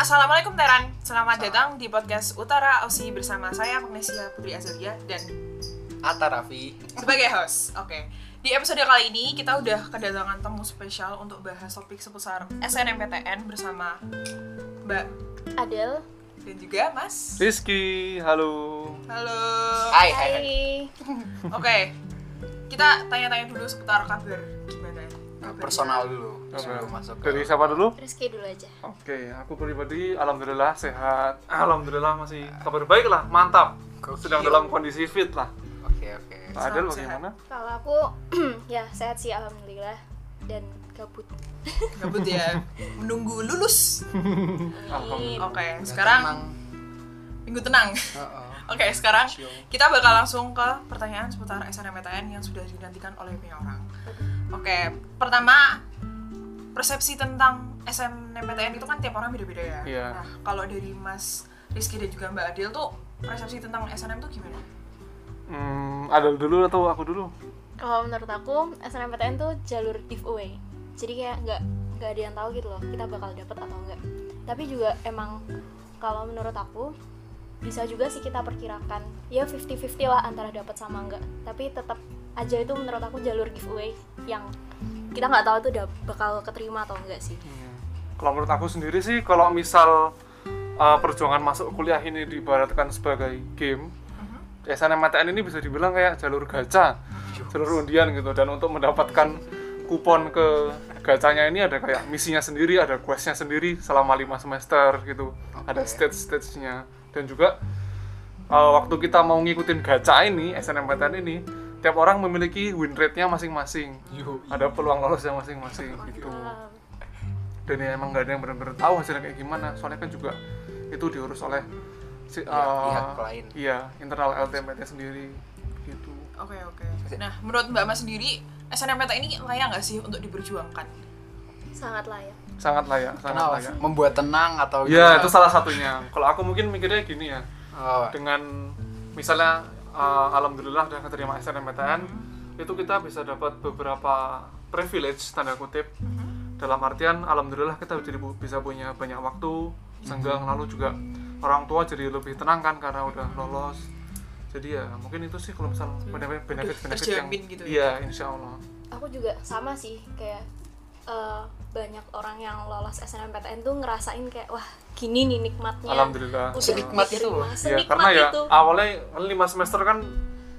Assalamualaikum Teran, selamat datang di podcast Utara Osi bersama saya Magnesia Putri Azalia dan Atta Raffi sebagai host. Oke, di episode kali ini kita udah kedatangan temu spesial untuk bahas topik seputar SNMPTN bersama Mbak Adel. dan juga Mas. Rizky, halo. Halo. Hai hai hai. Hai. Oke, kita tanya-tanya dulu seputar kabar gimana? Kabar Nah, ya? Personal dulu sebelum masuk ke Dari siapa dulu? Rizky dulu aja. Oke, aku pribadi alhamdulillah sehat. Alhamdulillah masih kabar baik lah, mantap. Gokil. Sedang dalam kondisi fit lah. Oke oke Pak Adel Selamat sehat. Iya. bagaimana? Kalau aku ya sehat sih alhamdulillah dan gabut. Gabut ya, menunggu lulus. Alhamdulillah. Oke, sekarang minggu tenang. Oke, sekarang kita bakal langsung ke pertanyaan seputar SNMPTN yang sudah dinantikan oleh banyak orang. Oke, pertama persepsi tentang SNMPTN itu kan tiap orang beda-beda ya. Iya. Nah, kalau dari Mas Rizky dan juga Mbak Adil tuh persepsi tentang SNM tuh gimana? Hmm, Adel dulu atau aku dulu? Kalau menurut aku SNMPTN tuh jalur giveaway. Jadi kayak nggak nggak ada yang tahu gitu loh kita bakal dapet atau enggak. Tapi juga emang kalau menurut aku bisa juga sih kita perkirakan ya 50-50 lah antara dapat sama enggak tapi tetap aja itu menurut aku jalur giveaway yang kita nggak tahu itu dap- bakal keterima atau enggak sih Iya. Kalau menurut aku sendiri sih, kalau misal uh, perjuangan masuk kuliah ini diibaratkan sebagai game, SNMPTN ini bisa dibilang kayak jalur gacha, jalur undian gitu. Dan untuk mendapatkan kupon ke gacanya ini ada kayak misinya sendiri, ada questnya sendiri selama lima semester gitu. Ada Oke. stage-stagenya. Dan juga uh, waktu kita mau ngikutin gacha ini, SNMPTN ini, tiap orang memiliki win rate-nya masing-masing. Ada peluang lolosnya masing-masing gitu Wow. dan ya emang nggak ada yang benar-benar tahu hasilnya kayak gimana soalnya kan juga itu diurus oleh si, eh, pihak klien. iya internal LTMPT sendiri gitu Oke, oke. Nah, menurut Mbak Mas sendiri SNMPTN ini layak nggak sih untuk diperjuangkan? sangat layak sangat layak sangat Kenapa? layak ya. Membuat tenang atau ya gimana? itu salah satunya kalau aku mungkin mikirnya gini ya Oh, dengan misalnya eh, alhamdulillah udah keterima SNMPTN itu kita bisa dapat beberapa privilege tanda kutip dalam artian alhamdulillah kita jadi bu- bisa punya banyak waktu senggang lalu juga orang tua jadi lebih tenang kan karena udah lolos jadi ya mungkin itu sih kalau misal benefit benefit, benefit yang terjamin gitu ya. iya insya Allah aku juga sama sih kayak eh, banyak orang yang lolos SNMPTN tuh ngerasain kayak wah gini nih nikmatnya alhamdulillah Iya. Udah Senikmat itu. diterima, ya senikmat karena ya itu awalnya lima semester kan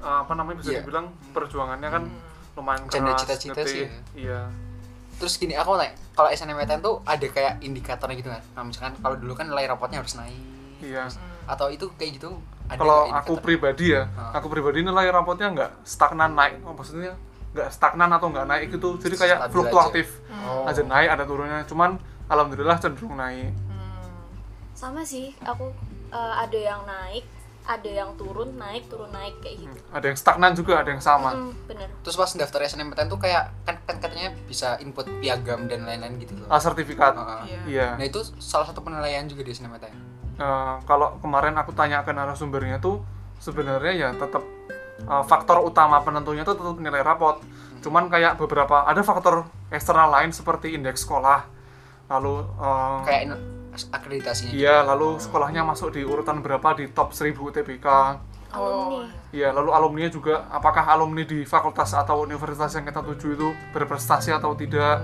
eh, apa namanya bisa Iya. dibilang perjuangannya kan Hmm, lumayan Canda keras cita-cita sih getih. ya. iya terus gini aku mau tanya kalau SNMPTN tuh ada kayak indikatornya gitu kan nah, misalkan kalau dulu kan nilai rapotnya harus naik iya terus- atau itu kayak gitu ada kalau nggak aku indikator? pribadi ya Ah. aku pribadi nilai rapotnya nggak stagnan naik oh, maksudnya nggak stagnan atau nggak naik itu jadi kayak Stabil aja. fluktuatif Oh. aja. naik ada turunnya cuman alhamdulillah cenderung naik hmm, sama sih aku eh, ada yang naik ada yang turun naik turun naik kayak gitu ada yang stagnan juga ada yang sama Hmm, bener terus pas daftar SNMPTN tuh kayak kan, kan katanya bisa input piagam dan lain-lain gitu loh Ah, sertifikat Ah, ah. Iya. iya nah itu salah satu penilaian juga di SNMPTN Eh, kalau kemarin aku tanya ke narasumbernya tuh sebenarnya ya tetap eh, faktor utama penentunya tuh tetap nilai rapot Hmm. cuman kayak beberapa ada faktor eksternal lain seperti indeks sekolah lalu eh, kayak in- akreditasinya gitu. Iya, lalu sekolahnya masuk di urutan berapa di top 1000 UTBK. alumni Iya, lalu alumni juga apakah alumni di fakultas atau universitas yang kita tuju itu berprestasi atau tidak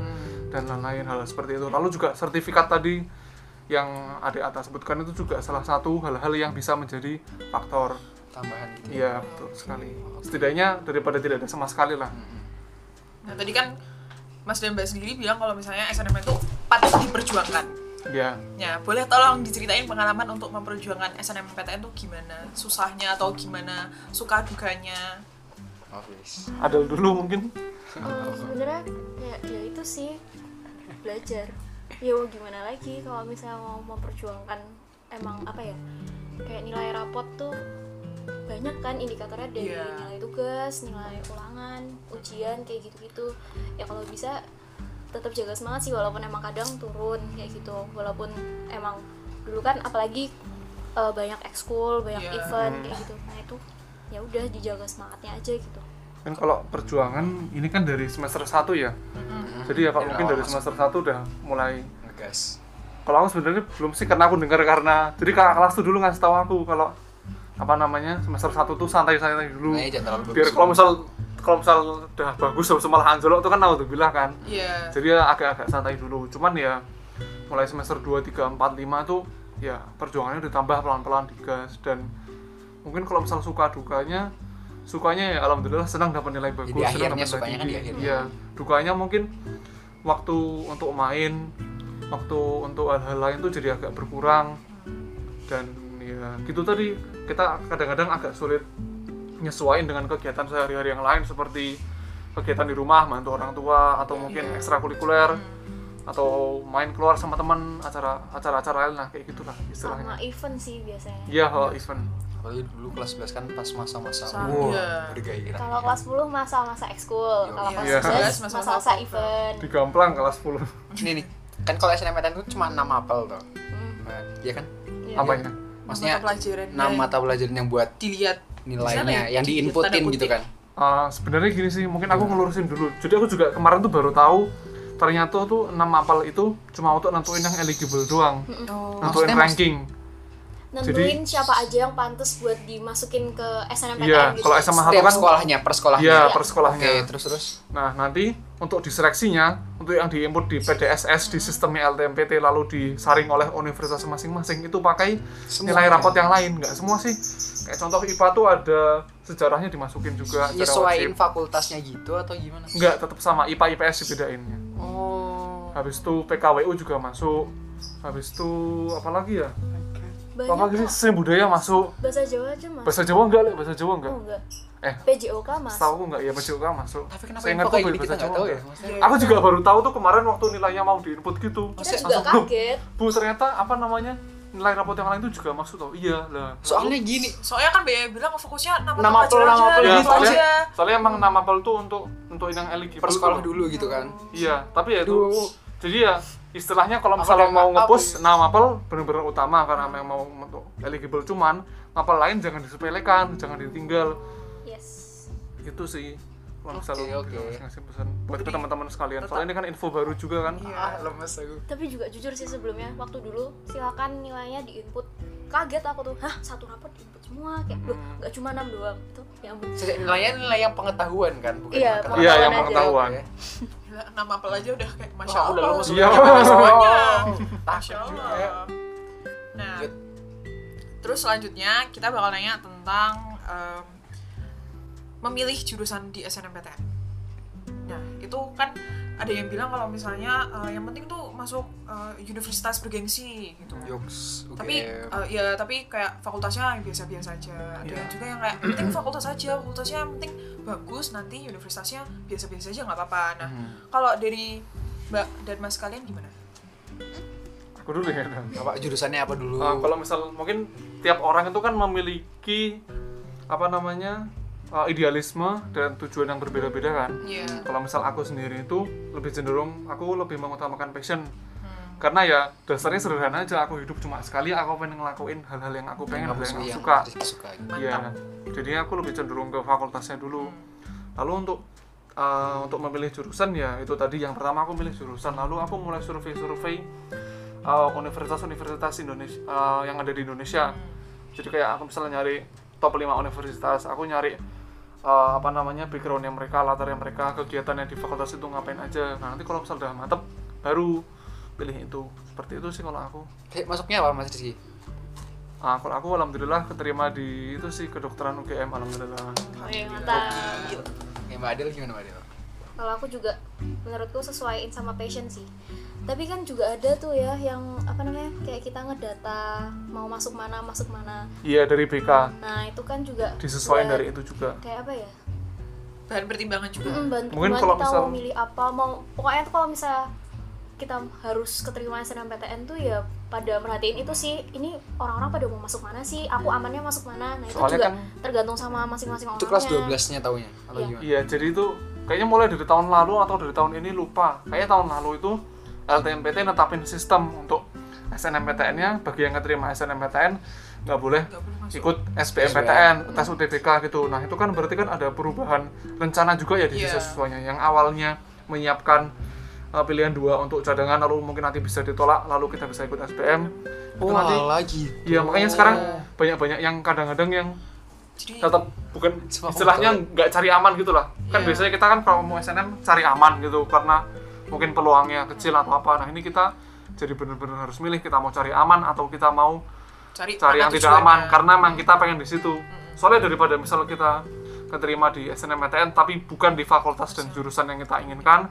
dan lain-lain hal seperti itu. Lalu juga sertifikat tadi yang adik atas sebutkan itu juga salah satu hal-hal yang bisa menjadi faktor. tambahan gitu Iya, betul sekali. Setidaknya daripada tidak ada sama sekali lah. Nah, tadi kan Mas dan Mbak sendiri bilang kalau misalnya SNM itu patut diperjuangkan. Iya. Ya, boleh tolong diceritain pengalaman untuk memperjuangkan SNMPTN tuh gimana? Susahnya atau gimana? Suka dukanya? Obvious. Adel dulu mungkin. Eh, sebenarnya ya, ya itu sih belajar ya mau gimana lagi kalau misalnya mau memperjuangkan emang apa ya kayak nilai rapot tuh banyak kan indikatornya dari Iya. nilai tugas nilai ulangan ujian kayak gitu-gitu ya kalau bisa tetap jaga semangat sih walaupun emang kadang turun kayak gitu walaupun emang dulu kan apalagi eh, banyak ekskul banyak Iya. event kayak gitu nah itu ya udah dijaga semangatnya aja gitu kan kalau perjuangan ini kan dari semester 1 ya. Jadi ya kalau Dan mungkin awal dari masuk. semester 1 udah mulai ngegas kalau aku sebenarnya belum sih karena aku dengar karena jadi kakak kelas tuh dulu ngasih tahu aku kalau apa namanya semester 1 tuh santai-santai dulu Nah, jangan terlalu biar bagus. kalau misal kalau misal udah bagus habis itu malah anjlok itu kan naudzubillah kan Iya. jadi ya agak-agak santai dulu cuman ya mulai semester 2, 3, 4, 5 tuh ya perjuangannya ditambah pelan-pelan digas dan mungkin kalau misal suka dukanya sukanya ya alhamdulillah senang dapat nilai bagus Jadi senang akhirnya dapat sukanya nilai kan di tinggi. akhirnya. Iya. dukanya mungkin waktu untuk main waktu untuk hal-hal lain tuh jadi agak berkurang dan ya gitu tadi kita kadang-kadang agak sulit nyesuaiin dengan kegiatan sehari-hari yang lain seperti kegiatan di rumah bantu orang tua Iya, atau mungkin ekstrakurikuler Hmm. atau main keluar sama teman acara acara acara lain lah kayak gitulah sama istilahnya event sih biasanya iya kalau event Apalagi dulu kelas 11 kan pas masa-masa Sangat. bergairah. kalau kelas 10 masa-masa ekskul kalau Iya. Iya. kelas Masa-masa 11 masa-masa apa? event di gamplang kelas 10 Ini nih, kan kalau SNMPTN itu cuma 6 apel tuh. Hmm, Nah, iya kan? iya. apa ya Maksudnya Mata pelajaran 6 mata pelajaran yang buat dilihat Di sana nilainya, ya, yang di- diinputin tanda gitu kutip. kan. Ah, sebenarnya gini sih mungkin aku ngelurusin dulu jadi aku juga kemarin tuh baru tahu ternyata tuh 6 apel itu cuma untuk nentuin yang eligible doang oh, nentuin Maksudnya mas- ranking nentuin siapa aja yang pantas buat dimasukin ke SNMPTN Iya, gitu. kalau SMA Setiap kan- sekolahnya, per sekolahnya. ya? iya Iya. per Oke, sekolahnya terus-terus. Nah, nanti untuk diseleksinya, untuk yang diinput di PDSS di sistemnya LTMPT lalu disaring oleh universitas masing-masing itu pakai Semua nilai ya? rapot yang lain, nggak semua sih. Kayak contoh IPA tuh ada sejarahnya dimasukin juga Iya, secara Nyesuaiin wajib. fakultasnya gitu atau gimana? Nggak, tetap sama IPA IPS dibedainnya. oh. Habis itu PKWU juga masuk. Habis itu apa lagi ya? Apa lagi banyak sih kok. seni budaya masuk. bahasa Jawa aja mas Bahasa Jawa enggak, Le? Bahasa Jawa enggak. oh, enggak Eh. PJOK mas Tahu enggak ya PJOK masuk. Tapi kenapa Seingat info tuh kayak gini bahasa kita nggak Jawa tahu ya? enggak. Maksudnya Iya. Aku juga baru tahu tuh kemarin waktu nilainya mau diinput gitu. kita Maksudnya juga langsung, kaget Bu ternyata apa namanya nilai rapot yang lain itu juga masuk tau iya lah Soalnya gini, Soalnya kan Bea bilang fokusnya nama Nama mata pelajaran apel, aja, nama apel nama gitu. aja. soalnya, soalnya emang nama apel tuh untuk untuk yang eligible per sekolah tuh. dulu gitu kan. iya tapi ya itu Aduh. jadi ya istilahnya kalau Apel misalnya yang mau nggak ngepush tahu. nama apel bener-bener utama karena memang mau untuk eligible cuman apel lain jangan disepelekan jangan ditinggal yes gitu sih kalau Oke, misalnya oke. gitu, ngasih pesan buat ke teman-teman sekalian soalnya ini kan info baru juga kan Iya. Ah, lemes aku. tapi juga jujur sih sebelumnya waktu dulu silakan nilainya diinput kaget aku tuh hah satu rapor diinput semua kayak loh Hmm. nggak cuma enam doang itu ya ampun Sejak nilainya nilai yang pengetahuan kan, bukan Iya, yang iya yang aja. pengetahuan Gila, nama apel aja udah kayak masya Masya Allah, Allah. lu masuk Iya. semuanya. Masya Masya ya. Allah. Nah, Iya. Lanjut. terus selanjutnya kita bakal nanya tentang em, memilih jurusan di SNMPTN. Nah, itu kan ada yang bilang kalau misalnya eh, yang penting tuh masuk eh, universitas bergengsi gitu. Yoks, Tapi UGM. eh, ya tapi kayak fakultasnya yang biasa-biasa aja. Ada Iya. yang juga yang kayak penting fakultas aja, fakultasnya yang penting bagus nanti universitasnya biasa-biasa aja nggak apa-apa. Nah, Hmm. kalau dari Mbak dan Mas kalian gimana? aku dulu ya Dan. apa jurusannya apa dulu? Uh, kalau misal mungkin tiap orang itu kan memiliki apa namanya uh, idealisme dan tujuan yang berbeda-beda kan. Iya. Kalau misal aku sendiri itu lebih cenderung aku lebih mengutamakan passion karena ya dasarnya sederhana aja aku hidup cuma sekali aku pengen ngelakuin hal-hal yang aku pengen hal kamu suka yang aku yang suka. Rizky suka. Iya. Jadi aku lebih cenderung ke fakultasnya dulu. Lalu untuk uh, untuk memilih jurusan ya itu tadi yang pertama aku milih jurusan. Lalu aku mulai survei-survei uh, universitas-universitas Indonesia uh, yang ada di Indonesia. Jadi kayak aku misalnya nyari top 5 universitas, aku nyari uh, apa namanya backgroundnya mereka, latarnya mereka, kegiatannya di fakultas itu ngapain aja. Nah nanti kalau misalnya udah mantep baru pilih itu. Seperti itu sih kalau aku. Eh, Masuknya apa Mas Rizky? Ah, kalau aku alhamdulillah keterima di itu sih kedokteran UGM alhamdulillah. oh, ya, mantap Ya, Mbak Adel gimana Mbak Adel? kalau aku juga menurutku sesuaiin sama passion sih tapi kan juga ada tuh ya yang apa namanya kayak kita ngedata mau masuk mana masuk mana Iya dari BK nah itu kan juga disesuaikan buat dari itu juga. kayak apa ya Bahan pertimbangan juga. Mm, bantu Mungkin banget kalau kita misal- mau milih apa mau pokoknya tuh kalau misalnya kita harus keterima SNMPTN tuh ya pada merhatiin itu sih ini orang-orang pada mau masuk mana sih aku amannya masuk mana nah itu Soalnya juga kan- tergantung sama masing-masing Itu orangnya kelas 12-nya tahunya atau Iya. gimana? Iya jadi itu kayaknya mulai dari tahun lalu atau dari tahun ini lupa. Kayaknya tahun lalu itu LTMPT netapin sistem untuk SNMPTN-nya bagi yang keterima SNMPTN nggak boleh Nggak boleh masuk. ikut SBMPTN, tes UTBK gitu. Nah, itu kan berarti kan ada perubahan rencana juga ya di Iya. sisi siswanya yang awalnya menyiapkan eh, pilihan dua untuk cadangan lalu mungkin nanti bisa ditolak lalu kita bisa ikut SBM itu nanti lagi. Oh, iya makanya sekarang banyak-banyak yang kadang-kadang yang Jadi tetap bukan Sepak istilahnya nggak cari aman gitu lah kan Iya. biasanya kita kan kalau mau SNM cari aman gitu karena mungkin peluangnya kecil atau apa nah ini kita jadi bener-bener harus milih kita mau cari aman atau kita mau cari, mana cari yang tidak tujuannya. aman karena memang kita pengen di situ soalnya daripada misal kita keterima di SNMPTN E tapi bukan di fakultas dan jurusan yang kita inginkan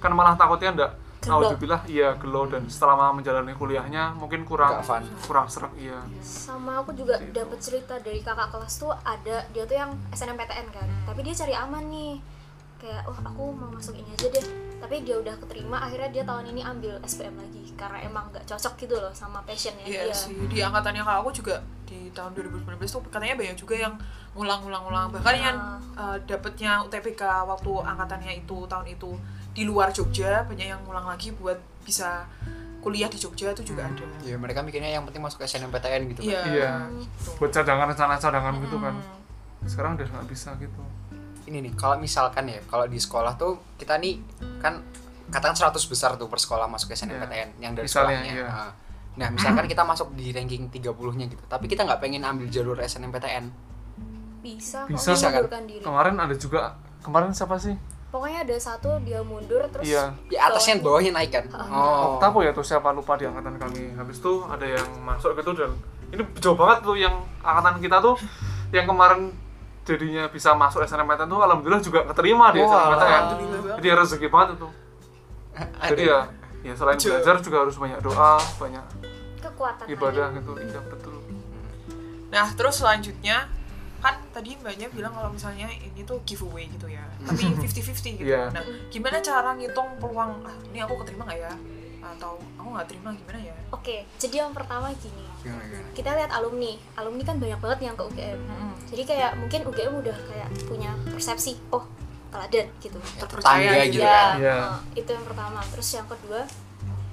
kan malah takutnya ndak Gelo. Alhamdulillah iya gelo dan setelah menjalani kuliahnya mungkin kurang Nggak fun. kurang serak iya sama aku juga dapat cerita dari kakak kelas tuh ada dia tuh yang SNMPTN kan tapi dia cari aman nih kayak wah aku mau masuk ini aja deh tapi dia udah keterima akhirnya dia tahun ini ambil SPM lagi karena emang nggak cocok gitu loh sama passionnya Iya dia sih, di angkatannya kakak aku juga di tahun 2019 tuh katanya banyak juga yang ngulang-ngulang-ngulang bahkan yang eh, dapetnya UTBK waktu angkatannya itu tahun itu di luar Jogja banyak yang ngulang lagi buat bisa kuliah di Jogja itu juga ada. Ya mereka mikirnya yang penting masuk SNMPTN gitu kan. Iya. Hmm. Iya. buat cadangan rencana cadangan gitu kan Hmm. sekarang udah nggak bisa gitu Ini nih, kalau misalkan ya, kalau di sekolah tuh kita nih kan katakan 100 besar tuh per sekolah masuk SNMPTN yang dari Misalnya, sekolahnya. iya. Nah, Nah, misalkan kita masuk di ranking 30-nya gitu, tapi kita nggak pengen ambil jalur SNMPTN. bisa kok Bisa. Bisa kan? mengundurkan diri kemarin ada juga kemarin siapa sih pokoknya ada satu dia mundur terus iya Di atasnya dan bawahnya naik kan. Oh. Oktapo ya tuh siapa lupa di angkatan kami habis itu ada yang masuk gitu dan ini jauh banget tuh yang angkatan kita tuh yang kemarin jadinya bisa masuk SNMPTN tuh alhamdulillah juga keterima di Wah, SNMPTN alhamdulillah banget. kan. jadi ya rezeki banget itu jadi ya ya selain Jauh. belajar juga harus banyak doa banyak kekuatan ibadah gitu iya betul Nah, terus selanjutnya kan tadi mbaknya bilang kalau misalnya ini tuh giveaway gitu ya. Tapi 50-50 gitu. Iya. Nah, gimana cara ngitung peluang ah ini aku keterima nggak ya? Atau aku nggak terima gimana ya? Oke, jadi yang pertama gini. Gimana, gimana? Kita lihat alumni. Alumni kan banyak banget yang ke UGM. Mm-mm. Jadi kayak mungkin UGM udah kayak punya persepsi, oh teladan gitu. Ya, Terpercaya tetangga gitu gitu Ya, kan. Iya. eh, itu yang pertama. Terus yang kedua,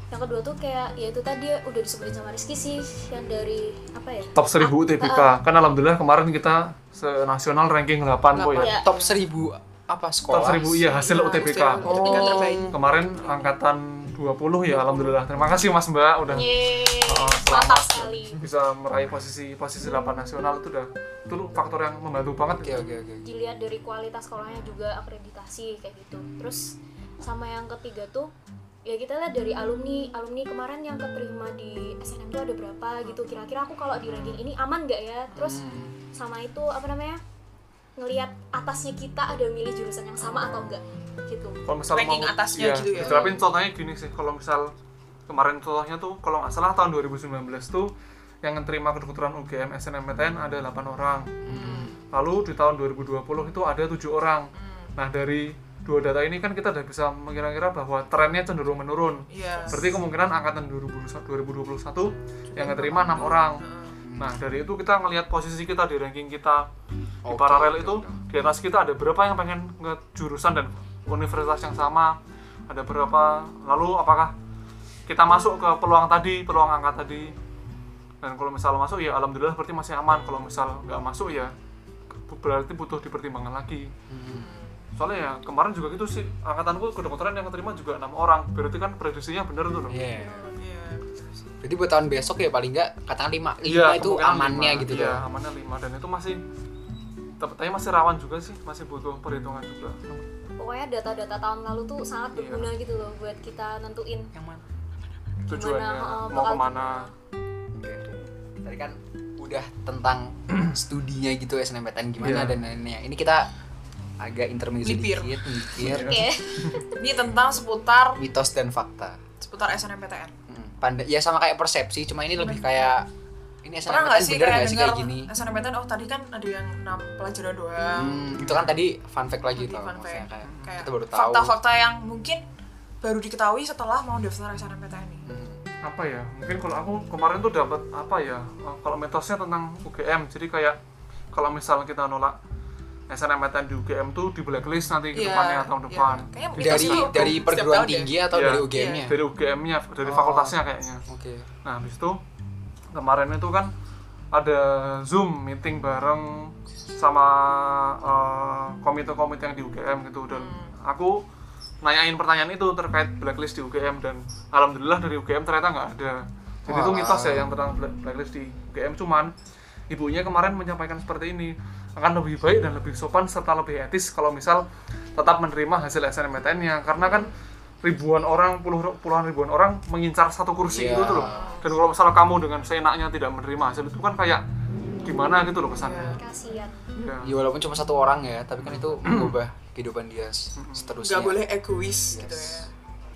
yang kedua tuh kayak ya itu tadi udah disebutin sama Rizky sih yang dari apa ya? top 1000 UTBK kan alhamdulillah kemarin kita se- nasional ranking 8 po ya Iya. Top 1000 apa top sekolah? 1000 iya hasil Iya, UTBK hasil UTBK terbaik. Oh. kemarin angkatan 20 ya alhamdulillah terima kasih mas mbak udah Yeay, Iya. Oh, mantap selamat. Iya, sekali. bisa meraih posisi posisi 8 nasional itu udah itu lu faktor yang membantu banget Iya. Oke, oke, oke. oke. dilihat dari kualitas sekolahnya juga akreditasi kayak gitu terus sama yang ketiga tuh ya kita lihat dari alumni alumni kemarin yang keterima di SNM tuh ada berapa gitu kira-kira aku kalau di ranking ini aman nggak ya terus Hmm. sama itu apa namanya ngelihat atasnya kita ada milih jurusan yang sama atau enggak gitu kalau misal Ranking mau- atasnya iya, gitu ya. diterapin contohnya gini sih kalau misal kemarin contohnya tuh kalau nggak salah tahun 2019 tuh yang menerima kedokteran UGM SNMPTN ada 8 orang lalu di tahun 2020 itu ada tujuh orang Hmm. nah dari dua data ini kan kita udah bisa mengira-kira bahwa trennya cenderung menurun Iya. berarti kemungkinan angkatan 2021 2021 yang keterima enam orang nah dari itu kita ngelihat posisi kita di ranking kita di Oke, paralel oke, itu oke. di atas kita ada berapa yang pengen ke jurusan dan universitas yang sama ada berapa lalu apakah kita masuk ke peluang tadi peluang angka tadi dan kalau misal masuk ya alhamdulillah berarti masih aman kalau misal nggak masuk ya berarti butuh dipertimbangkan lagi Hmm. soalnya ya kemarin juga gitu sih angkatanku kedokteran yang keterima juga enam orang berarti kan prediksinya bener tuh dong Iya. Iya. Jadi buat tahun besok ya paling nggak katakan 5. 5 itu kemungkinan amannya Iya, lima. gitu iya, loh. amannya lima dan itu masih tapi tapi masih rawan juga sih masih butuh perhitungan juga pokoknya data-data tahun lalu tuh sangat Iya. berguna gitu loh buat kita nentuin Yang mana? tujuannya eh, oh, mau bakal kemana Oke. Tadi kan udah tentang studinya gitu SNMPTN gimana Iya. dan lainnya. Ini kita agak intermezzo Lipir. dikit, mikir oke Ini tentang seputar mitos dan fakta. seputar SNMPTN. Hmm, Pandai ya sama kayak persepsi, cuma ini lebih kayak ini Pernah nggak SNMPTN sih bener kayak nggak sih dengar kayak gini? SNMPTN oh tadi kan ada yang enam pelajaran doang. Hmm, itu kan tadi fun fact lagi Nanti tuh. fun fact. maksudnya kayak Kayak kita baru tahu. fakta-fakta yang mungkin baru diketahui setelah mau daftar SNMPTN ini. Hmm. apa ya mungkin kalau aku kemarin tuh dapat apa ya eh, kalau mitosnya tentang UGM jadi kayak kalau misal kita nolak SNMPTN di UGM tuh di blacklist nanti ke Iya, depannya tahun iya. depan Kayaknya mitos Dari tuh dari setiap perguruan tahun ya? deh. tinggi ya, atau Iya. dari UGM-nya? dari UGM-nya dari Oh. fakultasnya kayaknya Oke. Nah, habis itu kemarin itu kan ada Zoom meeting bareng Hmm. sama eh, komite-komite yang di UGM gitu dan aku nanyain pertanyaan itu terkait blacklist di UGM dan alhamdulillah dari UGM ternyata nggak ada jadi itu Wah. mitos ya yang tentang black- blacklist di UGM cuman ibunya kemarin menyampaikan seperti ini akan lebih baik dan lebih sopan serta lebih etis kalau misal tetap menerima hasil SNMPTN-nya karena kan ribuan orang puluh, puluhan ribuan orang mengincar satu kursi Iya. itu tuh loh dan kalau misalnya kamu dengan seenaknya tidak menerima hasil itu kan kayak gimana gitu loh kesannya kasihan Iya. Ya, walaupun cuma satu orang ya, tapi kan Hmm. itu mengubah kehidupan dia s- seterusnya. Hmm. nggak boleh egois gitu Yes. ya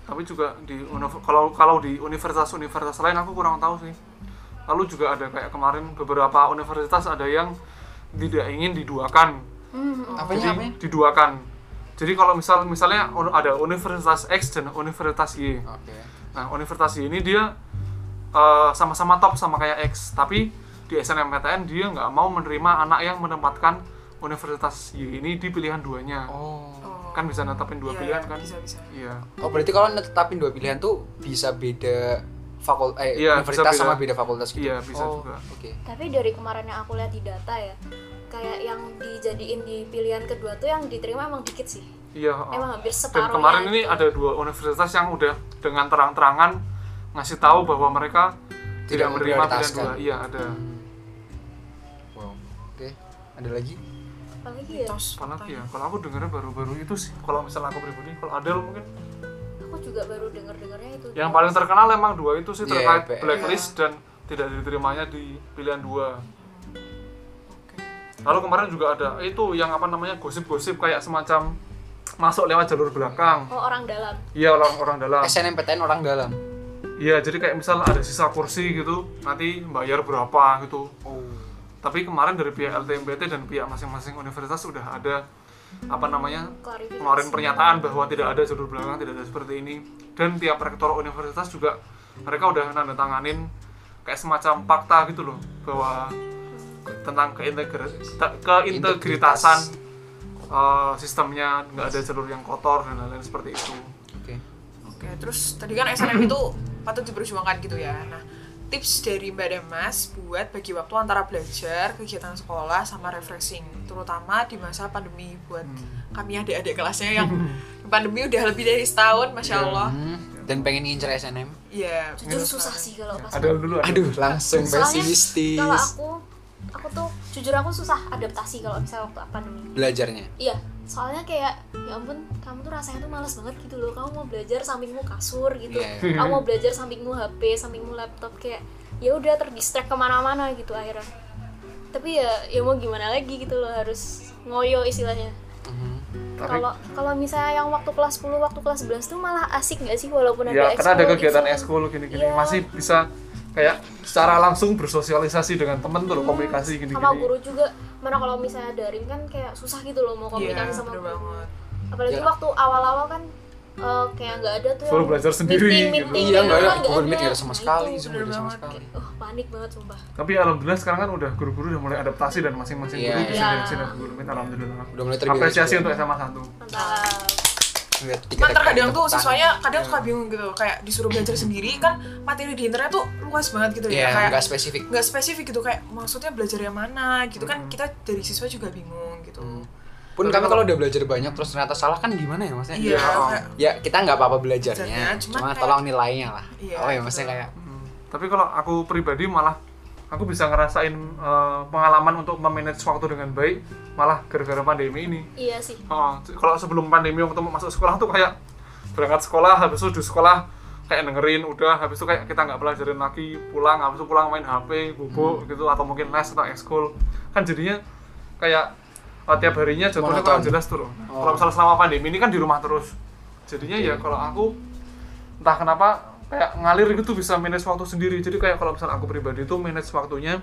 tapi juga di univ- kalau kalau di universitas-universitas lain aku kurang tahu sih lalu juga ada kayak kemarin beberapa universitas ada yang tidak ingin diduakan Apanya, jadi apanya? diduakan jadi kalau misal misalnya un- ada universitas X dan universitas Y Oke. Nah, universitas Y ini dia eh, sama-sama top sama kayak X, tapi di SNMPTN dia nggak mau menerima anak yang menempatkan universitas Y ini di pilihan duanya. Oh. Kan bisa netapin dua Iya, pilihan iya, kan? bisa bisa Iya. Oh, berarti kalau netapin dua pilihan tuh bisa beda fakul eh, Iya, universitas bisa sama beda. beda fakultas gitu. Iya, bisa Oh, juga. Oke. tapi dari kemarin yang aku lihat di data ya kayak yang dijadiin di pilihan kedua tuh yang diterima emang dikit sih Iya. emang hampir Dan separuh kemarin ini ada dua universitas yang udah dengan terang-terangan ngasih tahu bahwa mereka Tidak tidak, menerima pilihan memprioritaskan. dua. Iya, ada. Wow. Oke. Ada lagi? apalagi ya mitos Apalagi ya, kalau aku dengarnya baru-baru itu sih. Kalau misalnya aku pribadi, kalau Adel mungkin aku juga baru denger dengernya itu Yang paling terkenal emang dua itu sih Iya, terkait IPS. blacklist dan tidak diterimanya di pilihan dua. Oke. Lalu kemarin juga ada itu yang apa namanya gosip-gosip kayak semacam masuk lewat jalur belakang. oh orang dalam Iya orang-orang dalam. SNMPTN orang dalam. Iya jadi kayak misal ada sisa kursi gitu, nanti bayar berapa gitu. Oh. Tapi kemarin dari pihak LTMPT dan pihak masing-masing universitas sudah ada apa namanya klarifikasi kemarin pernyataan bahwa tidak ada jalur belakang, tidak ada seperti ini. Dan tiap rektor universitas juga mereka udah nanda tanganin kayak semacam fakta gitu loh bahwa ke- tentang keintegri- te- keintegritasan eh, sistemnya nggak ada jalur yang kotor dan lain-lain seperti itu. Oke. Oke, terus tadi kan SNM itu patut diperjuangkan gitu ya. Nah, tips dari Mbak Demas buat bagi waktu antara belajar, kegiatan sekolah, sama refreshing, terutama di masa pandemi buat Hmm. kami adik-adik kelasnya yang pandemi udah lebih dari setahun, masya Iya. Allah. Hmm, Dan pengen ngincer SNM? Iya, jujur bener susah sekali. sih kalau pas Ada dulu ada. Aduh, langsung Soalnya pesimistis. kalau aku aku tuh jujur aku susah adaptasi kalau misalnya waktu pandemi Belajarnya. iya soalnya kayak ya ampun kamu tuh rasanya tuh males banget gitu loh kamu mau belajar sampingmu kasur gitu Iya. kamu mau belajar sampingmu HP sampingmu laptop kayak ya udah terdistract kemana-mana gitu akhirnya tapi ya ya mau gimana lagi gitu loh harus ngoyo istilahnya Mhm. Tapi- kalau kalau misalnya yang waktu kelas 10 waktu kelas 11 tuh malah asik nggak sih walaupun ada Ya karena ada ekskul, kegiatan event. eskul gini-gini Iya. masih bisa kayak secara langsung bersosialisasi dengan temen tuh loh komunikasi Iya. sama gini-gini. guru juga mana kalau misalnya daring kan kayak susah gitu loh mau Iya, komunikasi sama bener guru banget. apalagi Ya. waktu awal-awal kan eh, kayak nggak ada tuh Suruh yang belajar sendiri meeting, gitu. meeting, Iya, nggak ada. gitu kan, Google Meet nggak ada sama Nah, sekali. itu. Zoom nggak ada sama bener banget. sekali. oh panik banget sumpah Tapi alhamdulillah sekarang kan udah guru-guru udah mulai adaptasi dan masing-masing Iya. guru bisa Iya. dari sini ke guru Meet, alhamdulillah. Udah mulai terbiasa. ya. Apresiasi untuk SMA 1. Nah. mantap Lihat tiga Cuman Kan terkadang tepuk tuh tangan. siswanya kadang Hmm. suka bingung gitu, kayak disuruh belajar sendiri kan materi di internet tuh luas banget gitu Iya, ya, kayak nggak spesifik. nggak spesifik gitu kayak maksudnya belajar yang mana gitu Hmm. kan kita dari siswa juga bingung gitu. Pun kami kalau udah belajar banyak terus ternyata salah kan gimana ya maksudnya? Iya, Iya. kayak- Ya kita nggak apa-apa Belajarnya, belajarnya, cuman cuma kayak- tolong nilainya lah. Iya, oh ya gitu. maksudnya kayak Hmm. Tapi kalau aku pribadi malah aku bisa ngerasain eh, pengalaman untuk memanage waktu dengan baik malah gara-gara pandemi ini. iya sih Oh, kalau sebelum pandemi waktu masuk sekolah tuh kayak berangkat sekolah habis itu di sekolah kayak dengerin udah habis itu kayak kita nggak pelajarin lagi pulang habis itu pulang main HP bubuk gitu atau mungkin les atau ekskul kan jadinya kayak eh, tiap harinya jadwalnya Monoton. kurang jelas tuh loh. kalau misalnya selama pandemi ini kan di rumah terus jadinya ya kalau aku entah kenapa kayak ngalir gitu bisa manage waktu sendiri jadi kayak kalau misalnya aku pribadi itu manage waktunya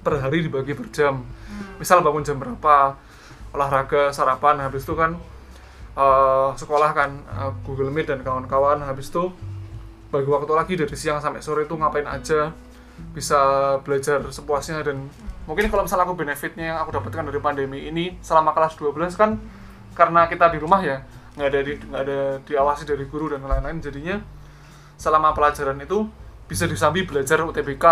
per hari dibagi per jam misal bangun jam berapa olahraga sarapan habis itu kan eh, sekolah kan eh, Google Meet dan kawan-kawan habis itu bagi waktu lagi dari siang sampai sore itu ngapain aja bisa belajar sepuasnya dan mungkin kalau misalnya aku benefitnya yang aku dapatkan dari pandemi ini selama kelas 12 kan karena kita di rumah ya nggak ada di, nggak ada diawasi dari guru dan lain-lain jadinya selama pelajaran itu bisa disambi belajar UTBK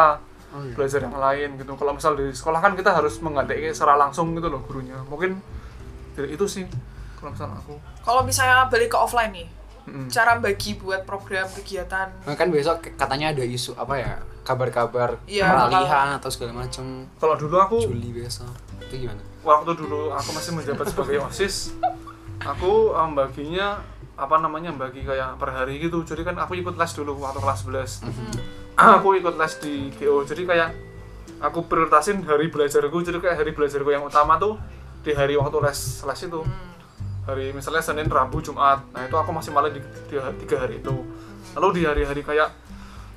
belajar yang lain gitu kalau misal di sekolah kan kita harus mengadain secara langsung gitu loh gurunya mungkin dari itu sih kalau misalnya aku Kalau misalnya balik ke offline nih, Hmm. Mm-mm. cara bagi buat program kegiatan Nah, kan besok k- katanya ada isu apa ya kabar-kabar Iya, Hmm. peralihan atau segala macam kalau dulu aku Juli besok itu gimana? waktu dulu aku masih menjabat sebagai osis aku em, baginya apa namanya bagi kayak per hari gitu jadi kan aku ikut les dulu waktu kelas 11 aku ikut les di GO jadi kayak aku prioritasin hari belajarku jadi kayak hari belajarku yang utama tuh di hari waktu les les itu hari misalnya Senin Rabu Jumat nah itu aku masih malah di, di- tiga hari itu lalu di hari-hari kayak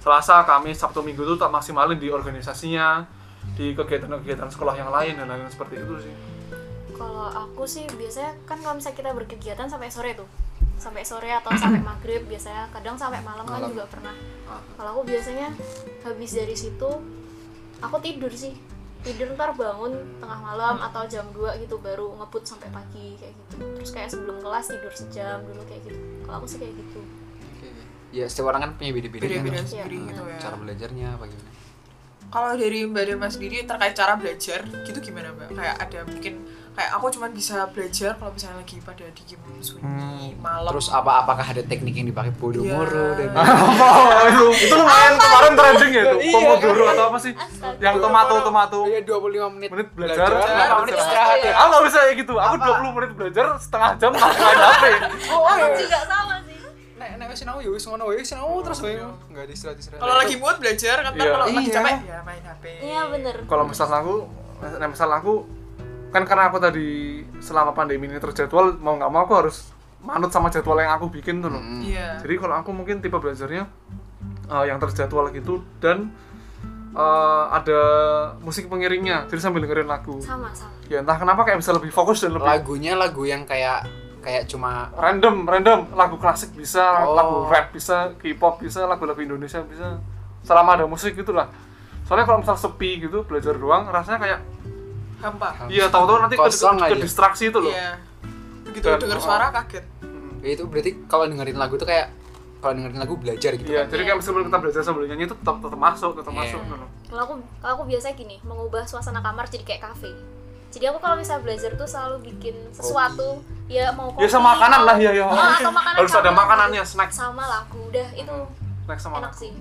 Selasa Kamis Sabtu Minggu itu tak maksimalin di organisasinya di kegiatan-kegiatan sekolah yang lain dan lain-lain seperti itu sih kalau aku sih biasanya kan kalau misalnya kita berkegiatan sampai sore tuh sampai sore atau sampai maghrib biasanya kadang sampai malam kan Malam. juga pernah Ah. kalau aku biasanya habis dari situ aku tidur sih tidur ntar bangun tengah malam atau jam 2 gitu baru ngebut sampai pagi kayak gitu terus kayak sebelum kelas tidur sejam dulu kayak gitu kalau aku sih kayak gitu Ya setiap orang kan punya beda-beda beda-beda kan? sendiri Nah, gitu ya. Cara belajarnya apa gimana? Kalau dari Mbak Dema sendiri terkait cara belajar gitu gimana Mbak? Kayak ada mungkin kayak aku cuma bisa belajar kalau misalnya lagi pada di game sunyi malam. Hmm, Terus apa apakah ada teknik yang dipakai Bodomoro Iya. dan lain-lain? Oh, itu, itu lumayan kemarin trending ya itu. Iya, Pomodoro atau apa sih? Astaga. Yang tomato tomato. Iya, 25 menit, Menit belajar, berapa menit istirahat ya? Aku nggak bisa kayak gitu. Aku 20 menit belajar, setengah jam langsung main HP. Oh, iya. aku juga sama sih Nek nek wis nang ya wis ngono ya, wis nang terus wae. Enggak ada istirahat-istirahat. Kalau lagi mood belajar, kan ntar Iya. kalau lagi Iya. capek ya main HP. iya bener Kalau misalnya aku, nah misalnya aku kan karena aku tadi selama pandemi ini terjadwal mau nggak mau aku harus manut sama jadwal yang aku bikin tuh loh. Mm. Iya. Jadi kalau aku mungkin tipe belajarnya eh, yang terjadwal gitu dan eh, ada musik pengiringnya. Jadi sambil dengerin lagu. sama sama ya entah kenapa kayak bisa lebih fokus Iya. dan lebih lagunya lagu yang kayak kayak cuma random random lagu klasik bisa Oh. lagu rap bisa K-pop bisa lagu-lagu Indonesia bisa selama ada musik gitulah soalnya kalau misal sepi gitu belajar doang rasanya kayak Hampa. iya tahu-tahu nanti ke, Kosong ke- ke aja. distraksi itu loh Iya. Begitu Dan- denger oh. suara kaget. Hmm. ya itu berarti kalau dengerin lagu itu kayak kalau dengerin lagu belajar gitu iya kan. jadi kayak meskipun kita belajar sambil nyanyi itu tetap tetap masuk tetap Iya. masuk gitu loh kalau aku kalau aku biasanya gini mengubah suasana kamar jadi kayak kafe jadi aku kalau misalnya belajar tuh selalu bikin sesuatu ya mau kopi ya sama makanan mau- lah ya ya Oh, atau makanan harus ada sama makanannya lagu. snack sama lagu udah itu snack sama enak lagu. sih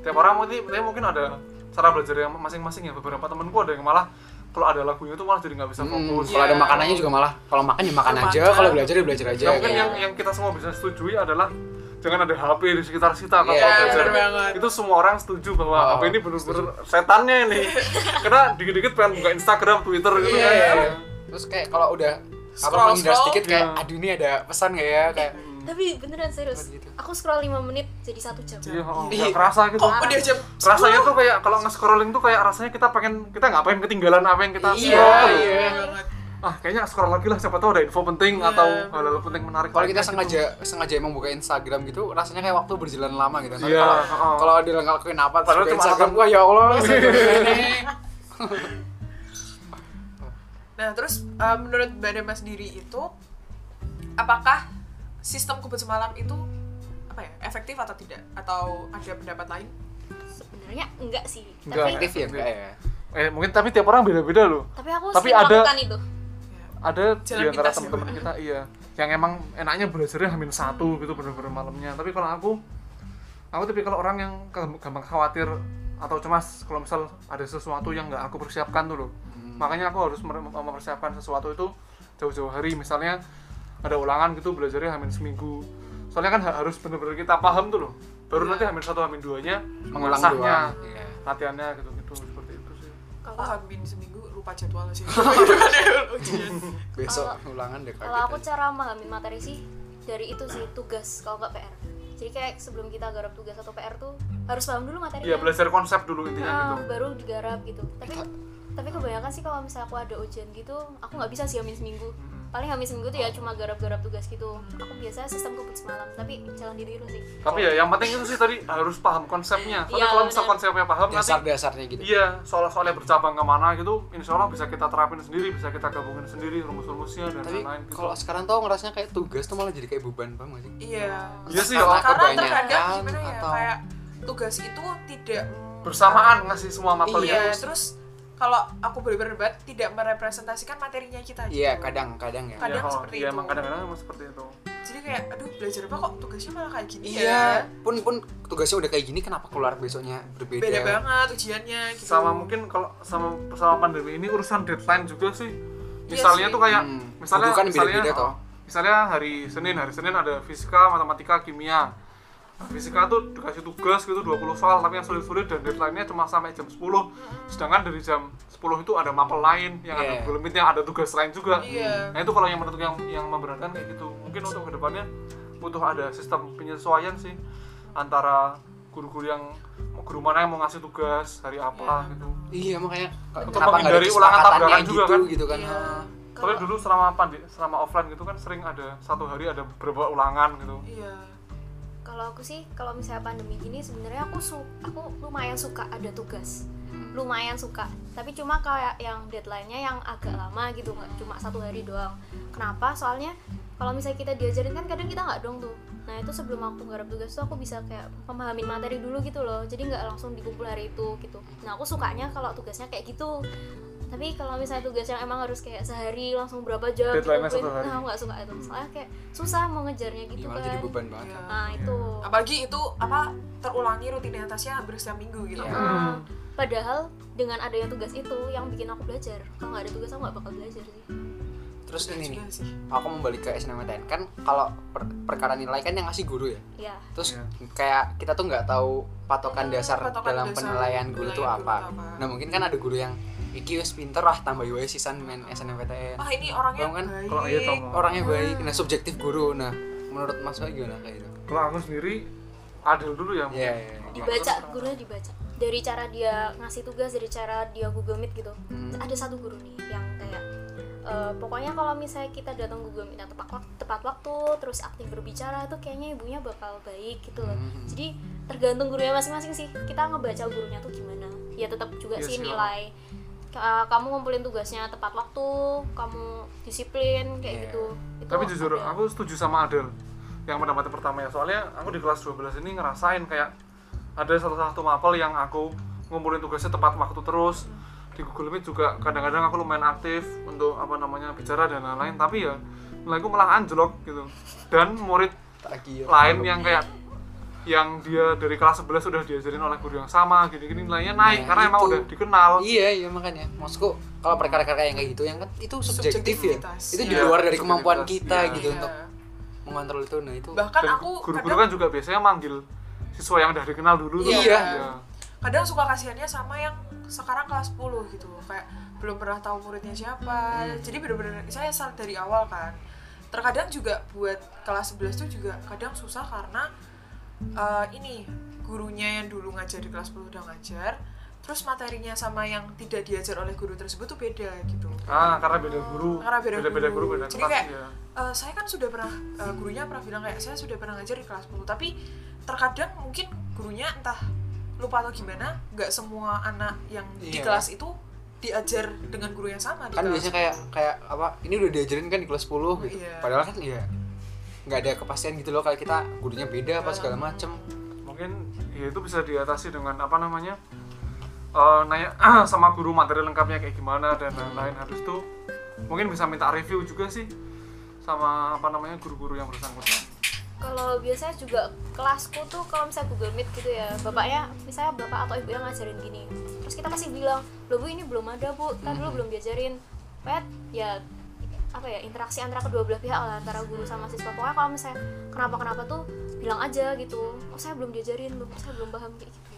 tiap orang mungkin tapi mungkin ada cara belajar yang masing-masing ya beberapa temenku ada yang malah kalau ada lagunya itu malah jadi nggak bisa Mm, fokus kalau ada Iya. makanannya juga malah kalau makan ya makan Makan. aja, kalau belajar ya belajar Iya, aja. Ya, mungkin kayak yang yang kita semua bisa setujui adalah jangan ada HP di sekitar kita kalau Iya, belajar. bener banget. Itu semua orang setuju bahwa Oh, HP ini benar-benar setannya ini. Karena dikit-dikit pengen buka Instagram, Twitter gitu Iya, kan. iya. Iya. Terus kayak kalau udah apa Scroll, menghindar scroll. sedikit kayak Iya. aduh ini ada pesan gak ya kayak tapi beneran serius Gitu. aku scroll 5 menit jadi satu jam Iya, oh, Iya. nggak kerasa gitu. Oh, udah jam rasanya tuh kayak kalau nge-scrolling tuh kayak rasanya kita pengen kita nggak pengen ketinggalan apa yang kita Iya, scroll. gitu iya. Iya. banget. Ah, kayaknya scroll lagi lah siapa tahu ada info penting Iya. atau hal-hal penting menarik. gitu. kalau kita lainnya sengaja sengaja emang buka Instagram gitu rasanya kayak waktu berjalan lama gitu Tapi Iya, kalau oh. kalau ada yang ngelakuin apa terus buka Padahal cuma Iya. Instagram akan- wah ya Allah Nah, terus eh, menurut Mbak Dema sendiri itu apakah sistem kubus semalam itu apa ya, efektif atau tidak? Atau ada pendapat lain? sebenarnya enggak sih Enggak. tapi aktif ya enggak ya gitu. Eh, mungkin tapi tiap orang beda-beda loh. tapi aku Tapi sering ada- lakukan itu ada di Jalan pintas antara ya, teman-teman Mbak. kita iya yang emang enaknya belajarnya hamin satu gitu bener-bener malamnya tapi kalau aku aku tapi kalau orang yang ke- gampang khawatir atau cemas kalau misal ada sesuatu yang nggak aku persiapkan tuh loh Hmm. makanya aku harus mer- mempersiapkan sesuatu itu jauh-jauh hari misalnya ada ulangan gitu belajarnya hamin seminggu soalnya kan ha- harus bener-bener kita paham tuh loh baru nanti hamin satu hamin duanya Iya. mengulang doang mengasahnya Iya. latihannya gitu-gitu seperti itu sih Kalau Ah, hamin seminggu lupa jadwal sih. Gitu kan ya, ujian. besok ulangan deh gitu. kalau kaget aku gitu. aja. cara memahami materi sih dari itu sih tugas kalau nggak PR jadi kayak sebelum kita garap tugas atau PR tuh harus paham dulu materinya iya belajar konsep dulu intinya Ah, gitu baru digarap gitu tapi tapi kebanyakan sih kalau misalnya aku ada ujian gitu aku nggak bisa sih hamin seminggu paling hamin seminggu tuh ya cuma garap-garap tugas gitu aku biasanya sistem kebut semalam tapi jalan diri lu sih tapi ya yang penting itu sih tadi harus paham konsepnya soalnya Iya, kalau misal benar. konsepnya paham nanti dasar-dasarnya gitu iya soal-soalnya bercabang kemana gitu insya Allah bisa kita terapin sendiri bisa kita gabungin sendiri rumus-rumusnya dan tapi lain-lain gitu kalau sekarang tuh ngerasanya kayak tugas tuh malah jadi kayak beban banget gak sih Iya. iya sih Karena Karena- ya, kebanyakan terkadang gimana ya, atau- kayak tugas itu tidak bersamaan ngasih semua Iya, materinya terus kalau aku boleh berdebat tidak merepresentasikan materinya kita gitu. Iya, kadang-kadang ya. Kadang ya, oh, seperti iya, itu. emang kadang-kadang emang seperti itu. Jadi kayak aduh belajar apa kok tugasnya malah kayak gini Iya, ya. pun pun tugasnya udah kayak gini kenapa keluar besoknya berbeda? Beda banget ujiannya gitu. Sama mungkin kalau sama sama pandemi ini urusan deadline juga sih. Iya Misalnya sih. tuh kayak Hmm, misalnya bukan misalnya, beda-beda toh. oh, misalnya hari Senin, hari Senin ada fisika, matematika, kimia. Nah, fisika tuh dikasih tugas gitu 20 soal tapi yang sulit-sulit dan deadline-nya cuma sampai jam 10. Sedangkan dari jam 10 itu ada mapel lain yang ada Iya. Google Meet-nya, ada tugas lain juga. Iya. Nah itu kalau yang menurut yang yang memberatkan kayak gitu. Mungkin untuk kedepannya butuh ada sistem penyesuaian sih antara guru-guru yang guru mana yang mau ngasih tugas hari apa Iya. gitu. Iya makanya Untuk kenapa nggak ada menghindari ulangan kesepakatannya tabrakan gitu juga kan? gitu kan? Iya. Soalnya dulu selama pandi- selama offline gitu kan sering ada satu hari ada beberapa ulangan gitu. Iya. kalau aku sih kalau misalnya pandemi gini sebenarnya aku su aku lumayan suka ada tugas Hmm. lumayan suka tapi cuma kayak yang deadline-nya yang agak lama gitu nggak cuma satu hari doang kenapa soalnya kalau misalnya kita diajarin kan kadang kita nggak dong tuh nah itu sebelum aku garap tugas tuh aku bisa kayak memahami materi dulu gitu loh jadi nggak langsung dikumpul hari itu gitu nah aku sukanya kalau tugasnya kayak gitu tapi kalau misalnya tugas yang emang harus kayak sehari langsung berapa jam Deadline-nya dikumpulin, satu hari. nah aku nggak suka itu soalnya kayak susah mau ngejarnya Iya, gitu malah kan jadi beban banget. Iya. nah itu Apalagi itu apa terulangi rutinitasnya hampir setiap minggu gitu. Iya. Nah, padahal dengan adanya tugas itu yang bikin aku belajar. Kalau nggak ada tugas aku nggak bakal belajar sih. Terus ini nih, Juga sih. aku mau balik ke SNMPTN kan kalau per- perkara nilai kan yang ngasih guru ya. Ya, Terus Iya. kayak kita tuh nggak tahu patokan Iya, dasar patokan dalam dasar penilaian penilaian guru itu guru apa. tuh apa. Nah mungkin kan ada guru yang iki wis pinter lah tambah wae sisan men SNMPTN. Wah ini orangnya Bang kan, baik. Kalau iya Tom. Orangnya baik, nah subjektif guru. Nah menurut Mas Wahyu gimana kayak itu? Kalau aku sendiri adil dulu ya. Iya, iya, iya. dibaca gurunya dibaca. Dari cara dia ngasih tugas, dari cara dia Google Meet gitu. Hmm. Ada satu guru nih yang kayak eh, pokoknya kalau misalnya kita datang Google Meet yang tepat waktu, tepat waktu, terus aktif berbicara itu kayaknya ibunya bakal baik gitu loh. Hmm. Jadi tergantung gurunya masing-masing sih. Kita ngebaca gurunya tuh gimana. Ya tetap juga Iya sih sih, nilai. Ka- eh, kamu ngumpulin tugasnya tepat waktu, kamu disiplin kayak Iya. gitu. Itu Tapi jujur ada. aku setuju sama Adel yang pendapat pertama ya. Soalnya aku di kelas 12 ini ngerasain kayak ada salah satu mapel yang aku ngumpulin tugasnya tepat waktu terus. Di Google Meet juga kadang-kadang aku lumayan aktif untuk apa namanya bicara dan lain-lain, tapi ya nilaiku malah anjlok gitu. Dan murid Tak kira. lain yang kayak yang dia dari kelas 11 sudah diajarin oleh guru yang sama gini-gini nilainya Iya, Nah, naik karena emang itu. udah dikenal Iya, iya makanya. Maksudku kalau perkara-perkara yang kayak gitu yang kan itu subjektif ya. Subjektivitas. Itu di Iya, luar dari kemampuan subjektivitas, kita iya. gitu Iya. untuk mengontrol itu. Nah, itu Bahkan Dan aku guru-guru kadang kan juga biasanya manggil siswa yang udah dikenal dulu tuh Iya. kadang suka kasihannya sama yang sekarang kelas 10 gitu kayak belum pernah tahu muridnya siapa jadi bener-bener saya start dari awal kan terkadang juga buat kelas 11 tuh juga kadang susah karena eh, ini gurunya yang dulu ngajar di kelas 10 udah ngajar terus materinya sama yang tidak diajar oleh guru tersebut tuh beda gitu ah karena beda guru Karena beda beda guru. guru beda Jadi kelas kayak- ya. Eh, saya kan sudah pernah eh, gurunya pernah bilang kayak saya sudah pernah ngajar di kelas 10 tapi terkadang mungkin gurunya entah lupa atau gimana nggak semua anak yang di Iya. kelas itu diajar dengan guru yang sama di kan kelas. biasanya kayak kayak apa? Ini udah diajarin kan di kelas 10 gitu. Iya. Padahal kan ya nggak ada kepastian gitu loh kalau kita gurunya Iya. beda apa segala macem mungkin ya itu bisa diatasi dengan apa namanya eh, nanya sama guru materi lengkapnya kayak gimana dan lain-lain habis itu mungkin bisa minta review juga sih sama apa namanya guru-guru yang bersangkutan kalau biasanya juga kelasku tuh kalau misalnya Google Meet gitu ya bapaknya misalnya bapak atau ibu yang ngajarin gini terus kita masih bilang loh bu ini belum ada bu kita dulu belum diajarin pet ya apa ya interaksi antara kedua belah pihak lah antara guru sama siswa pokoknya kalau misalnya kenapa kenapa tuh bilang aja gitu oh saya belum diajarin belum saya belum paham kayak gitu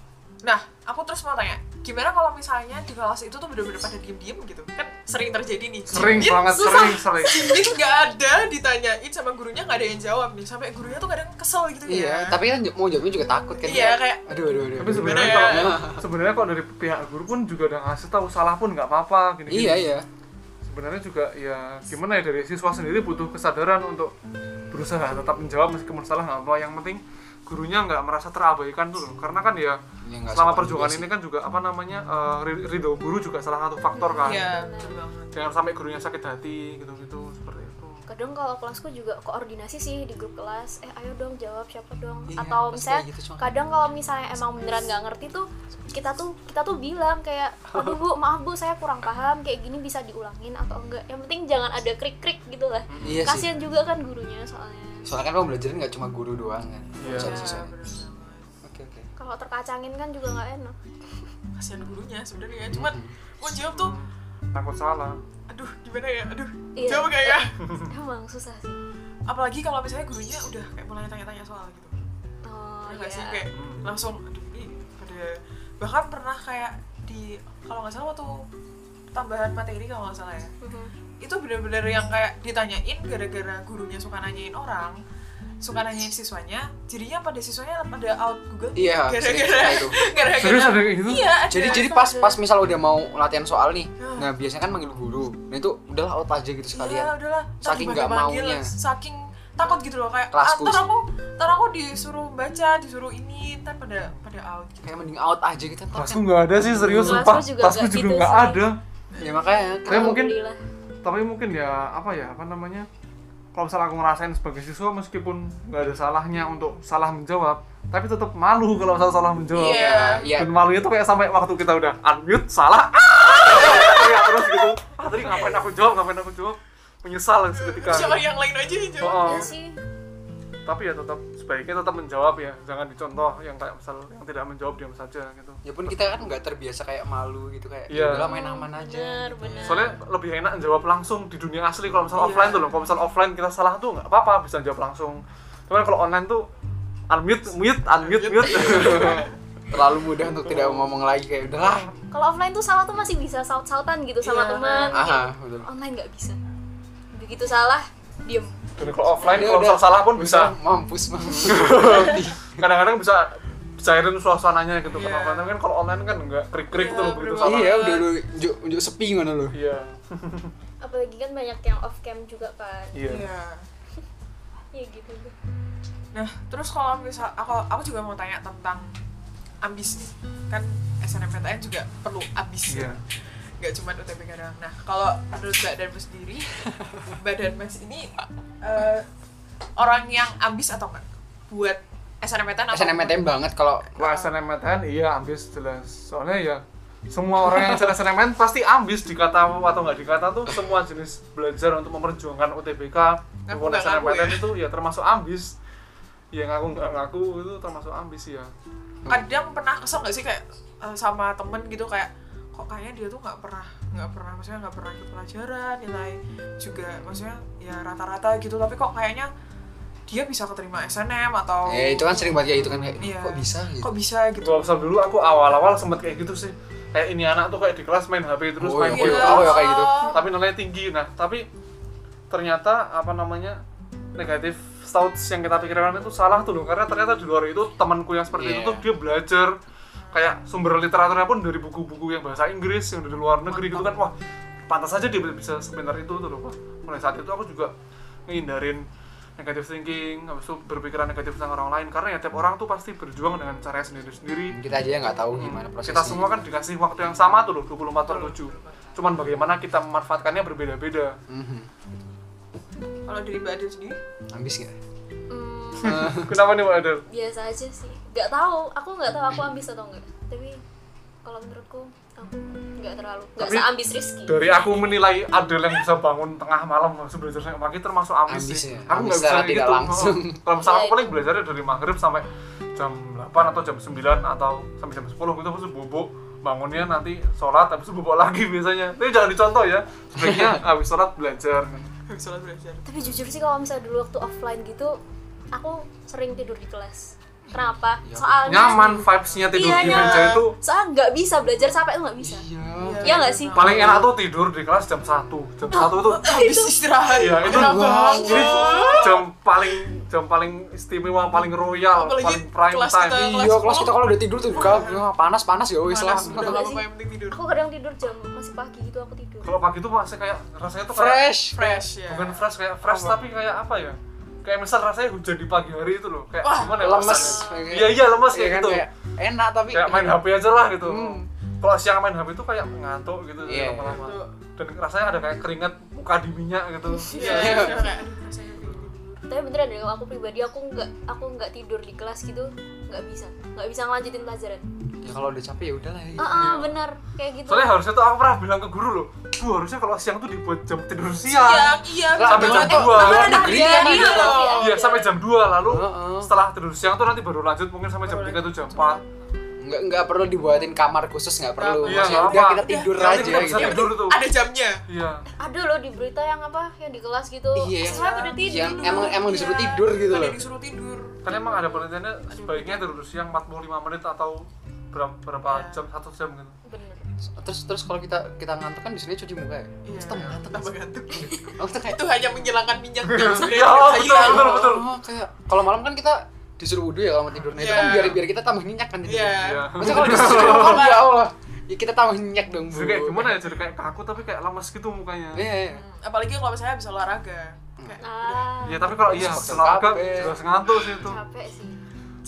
nah aku terus mau tanya gimana kalau misalnya di kelas itu tuh bener-bener pada diem-diem gitu kan sering terjadi nih sering Diem, banget susah. sering sering Diem nggak ada ditanyain sama gurunya nggak ada yang jawab nih sampai gurunya tuh kadang kesel gitu Iya, ya tapi kan mau jawabnya juga takut kan. Iya, kayak- aduh aduh aduh. tapi aduh. Iya, sebenarnya Gimana kalau ya? sebenarnya kalau dari pihak guru pun juga udah ngasih tahu salah pun nggak apa-apa gini, Iya, iya. sebenarnya juga ya gimana ya dari siswa sendiri butuh kesadaran untuk berusaha tetap menjawab meskipun salah nggak apa yang penting gurunya nggak merasa terabaikan dulu karena kan ya Ya, nggak selama sopan perjuangan juga sih. ini kan juga apa namanya eh, ri- ridho guru juga salah satu faktor kan iya betul banget jangan sampai gurunya sakit hati gitu-gitu seperti itu kadang kalau kelasku juga koordinasi sih di grup kelas eh ayo dong jawab siapa dong Iya, atau pasti misalnya kayak gitu, cuma- kadang kalau misalnya emang beneran nggak ngerti tuh kita tuh kita tuh bilang kayak aduh bu maaf bu saya kurang paham kayak gini bisa diulangin atau enggak yang penting jangan ada krik krik gitu lah Iya sih. kasihan juga kan gurunya soalnya Soalnya kan pembelajaran nggak cuma guru doang kan. Iya. Harus ada Ya, siswanya. bener banget. Oke oke. kalau terkacangin kan juga nggak enak kasihan gurunya sebenarnya cuman mau jawab tuh takut salah aduh gimana ya aduh Iya. jawab kayak ya emang susah sih apalagi kalau misalnya gurunya udah kayak mulai tanya-tanya soal gitu oh Pernah iya nggak sih kayak langsung aduh ini pada bahkan pernah kayak di kalau nggak salah waktu tambahan materi kalau nggak salah ya Mhm. itu bener-bener yang kayak ditanyain gara-gara gurunya suka nanyain orang suka nanyain siswanya jadinya pada siswanya pada out Google Iya. sering gara-gara suka itu. Eh, gara-gara serius ada kayak gitu iya ada. Jadi jadi pas pas misal udah mau latihan soal nih, nah biasanya kan manggil guru. Nah itu udahlah out aja gitu Iya, sekalian. udahlah. Ntar Saking dipanggil- nggak maunya. Saking takut gitu loh kayak ah, Kelasku ntar sih. aku ntar aku disuruh baca, disuruh ini, ntar pada pada out gitu. Kayak mending out aja gitu. ntar kelasku kan- nggak ada sih serius Kelasku sumpah juga kelasku nggak juga gitu nggak sih. ada Ya makanya kan. Tapi mungkin- Alhamdulillah. tapi mungkin ya apa ya apa namanya kalau misalnya aku ngerasain sebagai siswa meskipun nggak ada salahnya untuk salah menjawab tapi tetap malu kalau salah salah menjawab Iya. Iya. dan malunya tuh kayak sampai waktu kita udah unmute salah teriak terus gitu ah tadi ngapain aku jawab ngapain aku jawab menyesal seketika Siapa yang lain aja gitu. yang jawab. Oh, oh. Iya sih tapi ya tetap sebaiknya tetap menjawab ya jangan dicontoh yang kayak misal yang tidak menjawab diam saja gitu Ya pun kita kan nggak terbiasa kayak malu gitu kayak Iya. udahlah main aman aja. gitu." bener bener soalnya lebih enak jawab langsung di dunia asli kalau misal offline tuh loh kalau misal offline kita salah tuh nggak apa-apa bisa jawab langsung cuman kalau online tuh unmute mute unmute mute Terlalu mudah untuk tidak ngomong lagi kayak udahlah. kalau offline tuh salah tuh masih bisa saut sautan gitu sama Iya. teman Aha, betul. online nggak bisa begitu salah diem dan kalau offline Dia kalau misal udah- salah pun bisa Iya, mampus mampus. kadang-kadang bisa cairin suasananya gitu Iya. kan offline tapi kan kalau online kan nggak krik-krik Iya, tuh loh begitu bener salah banget. iya, udah lu unjuk unjuk sepi ngono lu. iya apalagi kan banyak yang off cam juga kan iya Iya. ya gitu deh. Nah, terus kalau misal aku aku juga mau tanya tentang ambis nih. Kan SNMPTN juga perlu ambis iya ya. Gak cuma UTBK doang. Nah, kalau menurut Mbak Darmo sendiri, Mbak Darmas ini eh, orang yang ambis atau enggak? Buat SNMPTN atau SNMPTN banget kalau Kalau SNMPTN iya ambis jelas. Soalnya ya semua orang yang SNMPTN pasti ambis dikata mau atau nggak dikata tuh semua jenis belajar untuk memperjuangkan UTBK maupun nggak ngaku SNMPTN ya? itu ya termasuk ambis. Ya ngaku nggak ngaku itu termasuk ambis ya. kadang pernah kesel nggak sih kayak eh, sama temen gitu kayak kok kayaknya dia tuh nggak pernah nggak pernah maksudnya nggak pernah ikut pelajaran nilai juga maksudnya ya rata-rata gitu tapi kok kayaknya dia bisa keterima SNM atau Eh, itu kan sering banget kayak gitu kan kayak Oh. Iya. kok bisa gitu. kok bisa gitu Kalau misal dulu aku awal-awal sempet kayak gitu sih. Kayak ini anak tuh kayak di kelas main HP terus Oh, main iya. Iya. game terus. Oh, ya kayak gitu. tapi nilainya tinggi nah tapi ternyata apa namanya negatif thoughts yang kita pikirkan itu salah tuh loh karena ternyata di luar itu temanku yang seperti itu Iya. tuh dia belajar kayak sumber literaturnya pun dari buku-buku yang bahasa Inggris yang dari luar negeri gitu kan wah pantas aja dia bisa sebentar itu tuh loh wah mulai saat itu aku juga ngehindarin negative thinking habis itu berpikiran negatif tentang orang lain karena ya tiap orang tuh pasti berjuang dengan caranya sendiri-sendiri Kita aja nggak tahu gimana prosesnya. kita semua kan dikasih waktu yang sama tuh loh 24 per 7 cuman bagaimana kita memanfaatkannya berbeda-beda Mhm. kalau dari mbak Adil sendiri Ambis nggak? Hmm, kenapa nih Mbak Adel? biasa aja sih nggak tahu aku nggak tahu aku ambis atau enggak tapi kalau menurutku aku nggak terlalu nggak Tapi- seambis Rizky dari aku menilai Adel yang bisa bangun tengah malam langsung belajar sampai pagi termasuk ambis, Ambis sih ya, aku nggak ambis bisa secara tidak gitu langsung. kalau misalnya aku Iya, paling belajarnya dari maghrib sampai jam 8 atau jam 9 atau sampai jam 10 gitu terus bubuk bangunnya nanti sholat habis itu bubuk lagi biasanya tapi jangan dicontoh ya sebaiknya habis sholat belajar habis sholat belajar tapi jujur sih kalau misalnya dulu waktu offline gitu aku sering tidur di kelas kenapa Ya, soalnya Iya. nyaman vibes-nya tidur Iya, di nyaman. meja itu soalnya nggak bisa belajar capek tuh nggak bisa Iya. Iya nggak sih? paling enak tuh tidur di kelas jam 1 jam 1 tuh habis istirahat Iya, itu Enak Wah, banget. Jadi jam paling jam paling istimewa, paling royal, Apalagi paling prime kelas time. kita- Iya, kelas kita kalau udah tidur tuh Iya. kalau panas panas ya wis lah. panas udah Nggak nggak sih? apa-apa yang penting tidur aku kadang tidur jam masih pagi gitu aku tidur Kalau pagi tuh masih kayak rasanya tuh kayak Fresh. fresh ya bukan fresh kayak fresh tapi kayak apa ya? Kayak misal rasanya hujan di pagi hari itu loh, kayak Wah, gimana ya? Lemes. rasanya? Iya iya lemes Iya kayak kan, gitu. kayak enak tapi Kayak main HP aja lah gitu. Hmm. Kalau siang main HP tuh kayak ngantuk gitu Iya. lama-lama. Dan rasanya ada kayak keringat muka di minyak gitu Iya, iya, iya, kayak rasanya kayak gitu. tapi beneran deh kalau aku pribadi aku nggak aku nggak tidur di kelas gitu nggak bisa nggak bisa ngelanjutin pelajaran ya kalau udah capek ya udahlah ya. ah ah, bener kayak gitu soalnya harusnya tuh aku pernah bilang ke guru loh bu harusnya kalau siang tuh dibuat jam tidur Iya, siang iya. Lah, sampai betul. jam Eh, dua. kemarin ada Negeri kejadian kan ada. loh. iya sampai jam 2 lalu Heeh. setelah tidur siang tuh nanti baru lanjut mungkin sampai jam Baru 3 tuh jam lanjut. 4 nggak nggak perlu dibuatin kamar khusus nggak perlu maksudnya Iya, nggak udah apa. kita tidur Nanti aja kita bisa gitu Yang tidur penting tuh. Ada jamnya. iya ada loh di berita yang apa yang di kelas gitu Iya. siswa pada tidur Yang emang emang disuruh Iya, tidur gitu ada loh. disuruh tidur. kan emang ada penelitiannya sebaiknya tidur siang 45 menit atau berapa, berapa Iya. jam satu jam gitu bener Terus terus kalau kita kita ngantuk kan di sini cuci muka ya. Iya. Terus tambah ngantuk. Tambah gantung. Aku tuh kayak Itu hanya menghilangkan minyak Iya, betul, betul, betul. Oh, kayak kalau malam kan kita disuruh wudhu ya kalau mau tidurnya itu kan Iya. biar biar kita tambah minyak kan tidur. Iya. Iya. Maksudnya kalau disuruh cuci muka ya Allah. Ya kita tambah minyak dong, Bu. Jadi kayak gimana ya jadi kayak kaku tapi kayak lemes gitu mukanya Iya, iya. Hmm, Apalagi kalau misalnya bisa olahraga. Kayak ah Iya tapi kalau iya Terus habis olahraga capek. juga ngantuk sih itu. capek sih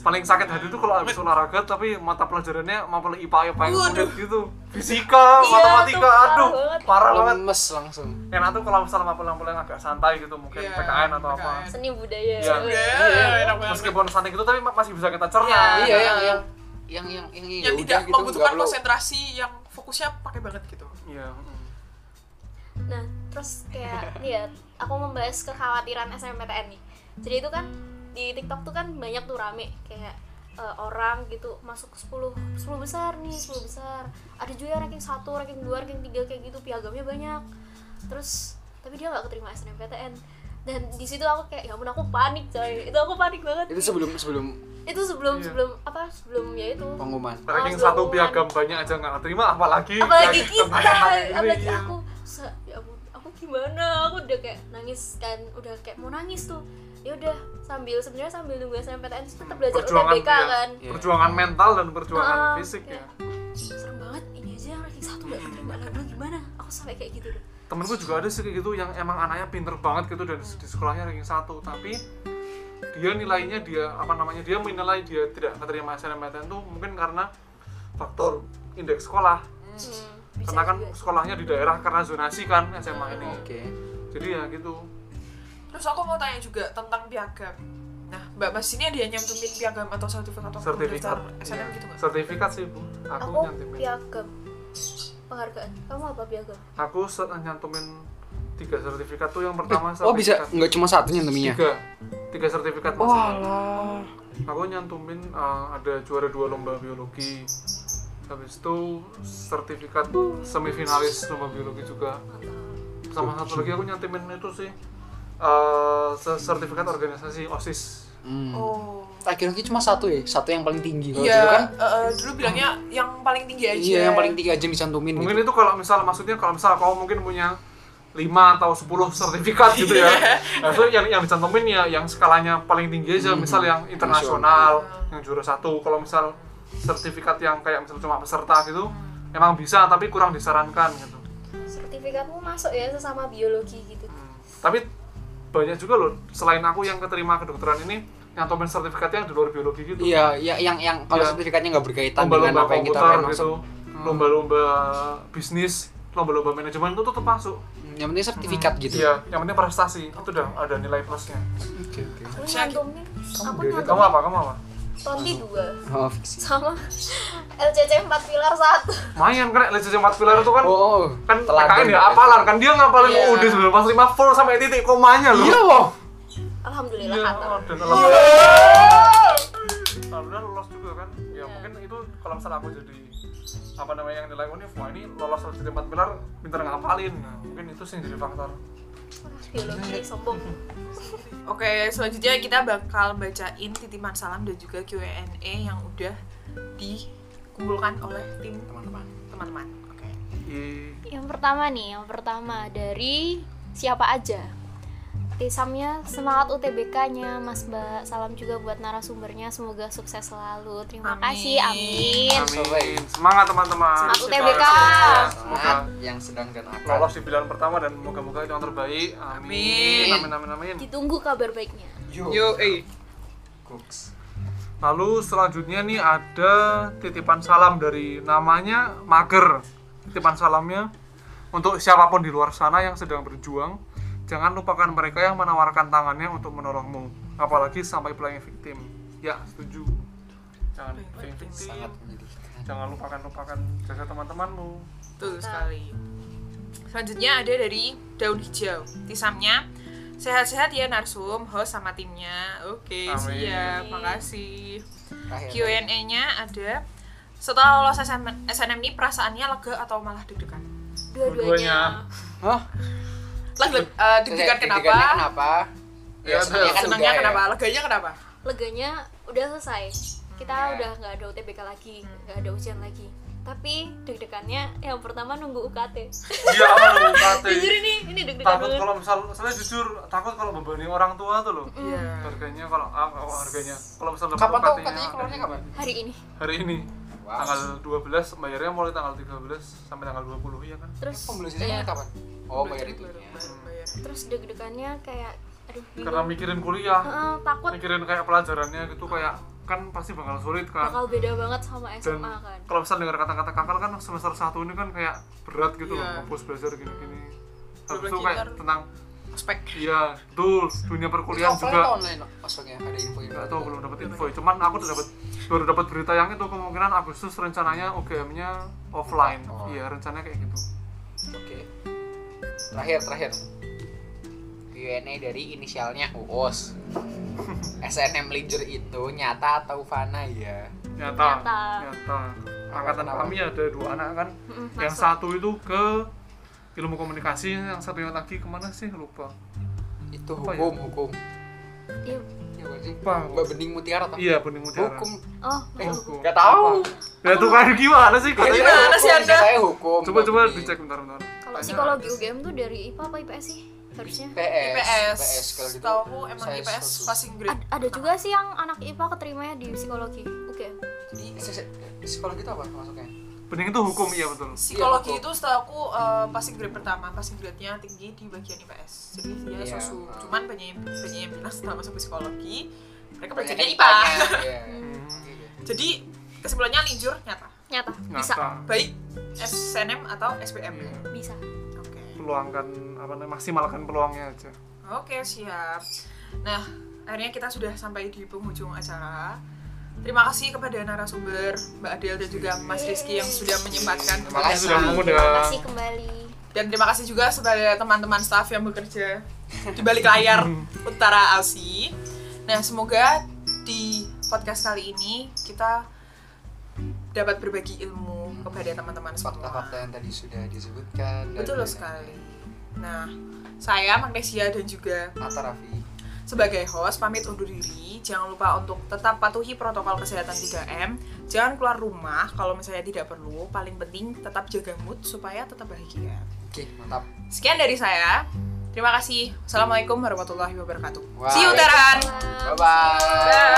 Paling sakit hati itu kalau habis olahraga tapi mata pelajarannya mapel IPA IPA yang Waduh. sulit gitu. Fisika, Iya, matematika, tuh, aduh, parah banget. Lemes langsung. Enak tuh kalau misalnya mapel-mapel yang agak santai gitu mungkin Iya, PKN atau apa. PKN. seni budaya Iya. Udah, enak banget. Meskipun santai gitu tapi ma- masih bisa kita Iya. Iya, cerna. yang yang yang yang yang, ya yang tidak udah gitu, nggak membutuhkan perlu. konsentrasi yang fokusnya pakai banget gitu. Iya. mm. Nah, terus kayak lihat aku membahas kekhawatiran SNMPTN nih. Jadi itu kan di TikTok tuh kan banyak tuh rame kayak eh, orang gitu masuk ke 10 10 besar nih, 10 besar. Ada juga yang ranking 1, ranking 2, ranking 3 kayak gitu piagamnya banyak. Terus tapi dia nggak keterima SNMPTN. Dan di situ aku kayak ya ampun aku panik coy. Itu aku panik banget. Itu sebelum sebelum Itu sebelum Iya. sebelum apa? Sebelum ya itu. pengumuman. Ranking Langsung satu hubungan. piagam banyak aja nggak terima apalagi apalagi ranking kita kebanyakan ini, apalagi iya. aku se- ya ampun, aku gimana aku udah kayak nangis kan udah kayak mau nangis tuh ya udah sambil sebenarnya sambil nunggu SNMPTN itu tetap belajar Perjuangan, UTBK iya. kan Iya. Perjuangan mental dan perjuangan Ah, fisik ya. kayak, serem banget ini aja yang ranking satu gak keterima lah gue gimana aku sampai kayak gitu deh temenku juga ada sih kayak gitu yang emang anaknya pinter banget gitu dan di sekolahnya ranking satu tapi dia nilainya dia apa namanya dia menilai dia tidak keterima SNMPTN tuh mungkin karena faktor indeks sekolah hmm, bisa karena kan juga sih. sekolahnya di daerah karena zonasi kan SMA ini Oke. jadi ya gitu Terus aku mau tanya juga tentang piagam. Nah, Mbak Mas ini dia nyantumin piagam atau sertifikat atau sertifikat daftar SNM Iya. gitu nggak? sertifikat sih bu aku, aku nyantumin piagam penghargaan kamu apa piagam aku se- nyantumin tiga sertifikat tuh yang pertama Oh, bisa sertifikat- nggak cuma satunya deminya. tiga tiga sertifikat Wah, maksudnya. lah. aku nyantumin uh, ada juara dua lomba biologi habis itu sertifikat semifinalis lomba biologi juga sama satu lagi aku nyantumin itu sih uh, se- sertifikat organisasi osis Hmm. Oh. Laki-laki cuma satu ya, satu yang paling tinggi. Kalau Iya, dulu kan eh, eh, dulu bilangnya yang paling tinggi aja. Iya, yang paling tinggi aja dicantumin mungkin gitu. itu kalau misal maksudnya kalau misal kau mungkin punya 5 atau 10 sertifikat gitu ya Iya. nah, itu yang yang dicantumin ya yang skalanya paling tinggi aja Hmm. misal yang internasional yang juara satu kalau misal sertifikat yang kayak misal cuma peserta gitu emang bisa tapi kurang disarankan gitu sertifikatmu masuk ya sesama biologi gitu Hmm. tapi banyak juga loh selain aku yang keterima kedokteran ini nyantumin sertifikatnya yang di luar biologi gitu Iya, ya, yang yang kalau Iya. sertifikatnya nggak berkaitan dengan lomba-lomba apa yang kita komputer maksud. Hmm. gitu lomba-lomba bisnis lomba-lomba manajemen itu tetap masuk Hmm, Yang penting sertifikat gitu. Iya, yang penting prestasi itu udah ada nilai plusnya. Oke, Iya, gitu. oke. aku Saya- nyantumin aku udah- Kamu nyantumin apa? Kamu apa? toti dua Kan Oh, fiksi. sama LCC 4 pilar 1 Main kan LCC 4 pilar itu kan Oh, oh. kan Teladan. gitu. PKN ya apalan kan dia ngapalin Iya. UUD 1945 full sampai titik komanya loh. Iya, loh. Alhamdulillah Iya, kata dan alhamdulillah. Alhamdulillah lolos juga kan. Iya. Ya mungkin itu kalau misalnya aku jadi apa namanya yang nilai univ, wah ini lolos LCC 4 pilar pinter ngapalin. Nah, mungkin itu sih yang jadi faktor. biologi sombong Oke, selanjutnya kita bakal bacain titipan salam dan juga Q&A yang udah dikumpulkan oleh tim Teman-teman. teman-teman. Oke. I- yang pertama nih yang pertama dari siapa aja Tisamnya semangat UTBK-nya Mas Mbak. Salam juga buat narasumbernya. Semoga sukses selalu. Terima Amin. kasih. Amin. Amin. Semangat teman-teman. Semangat UTBK. Semoga Semangat yang sedang dan akan. lolos di pilihan pertama dan moga-moga itu yang terbaik. Amin. Amin. Amin amin amin. Ditunggu kabar baiknya. Yo, Yo, eh. cooks. Lalu selanjutnya nih ada titipan salam dari namanya Mager. Titipan salamnya Untuk siapapun di luar sana yang sedang berjuang, jangan lupakan mereka yang menawarkan tangannya untuk menolongmu, apalagi sampai playing victim. Ya, setuju. Jangan Playing playing victim. victim. sangat menyedihkan Jangan lupakan lupakan jasa teman-temanmu. Betul Mantap. sekali. Selanjutnya ada dari daun hijau. Tisamnya sehat-sehat ya Narsum, host sama timnya. Oke, Amin. siap. Makasih. Terakhir. Q&A-nya ada setelah lolos SNM, SNM ini perasaannya lega atau malah deg-degan? dua-duanya Hah? Lega, eh, deg-degan Deg-degannya kenapa? Iya, kenapa? Ya, senangnya kan Senangnya udah ya. kenapa? Leganya kenapa? leganya udah selesai kita ya. udah nggak ada UTBK lagi nggak ada ujian lagi tapi deg-degannya yang pertama nunggu UKT Iya, ampun, Kate. jujur ini ini deg-degan takut banget kalau misal saya jujur takut kalau membebani orang tua tuh loh Iya. harganya kalau ah, kalau harganya kalau misal dapat Kapan tuh UKT-nya katanya keluarnya kapan? hari ini hari ini Wow. tanggal 12 bayarnya mulai tanggal 13 sampai tanggal 20 ya kan terus eh, Pembelajarannya kayak- kapan? Oh, bayar itu. Baru- baru- bayar. terus deg-degannya kayak aduh Iya. karena bingung mikirin kuliah Heeh, takut mikirin kayak pelajarannya gitu kayak kan pasti bakal sulit kan bakal beda banget sama dan SMA kan kalau misal dengar kata-kata kakak kan semester 1 ini kan kayak berat gitu loh Iya. kampus belajar gini-gini Belum habis itu lagi kayak ntar- tentang Ospek. iya betul dunia Kuliah perkuliahan juga. juga online loh, maksudnya ada info info. nggak tahu belum dapat info ya. cuman aku udah dapat baru dapat berita yang itu kemungkinan Agustus rencananya UGM-nya offline Oh. iya rencananya kayak gitu Oke. Terakhir terakhir. Q&A dari inisialnya Uus. SNM Linger itu nyata atau fana ya? nyata Nyata. nyata angkatan Kenapa? kami ada dua anak kan Mm-mm, yang masuk. satu itu ke ilmu komunikasi yang satunya lagi kemana sih lupa Itu Apa ya? hukum hukum. Iya. Ya, berarti Apa? Mbak Bening Mutiara atau? iya bening mutiara Hukum. oh Eh, masuk. Hukum. Gak tahu. ya tuh kayak gimana sih katanya Gimana sih Anda? Saya hukum. coba Mbak coba Bening. dicek bentar bentar kalau Tanya. psikologi UGM tuh dari IPA apa IPS sih harusnya PS. IPS. kalau gitu. Tahu aku emang saya IPS setuju. passing Iya. grade. Ad- ada juga sih yang anak IPA keterimanya di psikologi UGM Jadi se- se- psikologi itu apa masuknya? bening itu hukum iya betul Psikologi Iya, aku- itu setahu aku eh, passing grade pertama, passing grade-nya tinggi di bagian IPS. Jadi dia Iya. susu. Cuman banyak yang- banyak yang bilang setelah masuk psikologi mereka Banyak belajarnya IPA. ditanya, iya. Hmm, Iya. Jadi kesimpulannya linjur nyata. nyata bisa nyata Baik SNM atau SBM. Iya. bisa Oke. peluangkan apa namanya maksimalkan peluangnya aja Oke, siap. Nah, akhirnya kita sudah sampai di penghujung acara. Terima kasih kepada narasumber Mbak Adel dan juga Mas Rizky yang sudah menyempatkan terima Makasih. kasih sudah terima mengundang kasih kembali dan terima kasih juga sebagai teman-teman staff yang bekerja di balik layar Utara Asi. Nah, semoga di podcast kali ini kita dapat berbagi ilmu kepada teman-teman semua. fakta-fakta yang tadi sudah disebutkan dan- Betul sekali. Nah, saya Magnesia dan juga Atta Raffi Sebagai host, pamit undur diri. Jangan lupa untuk tetap patuhi protokol kesehatan 3M. Jangan keluar rumah kalau misalnya tidak perlu. Paling penting tetap jaga mood supaya tetap bahagia. oke mantap Sekian dari saya. Terima kasih. Assalamualaikum warahmatullahi wabarakatuh. See you, Waalaikumsalam. Teran! Bye. bye bye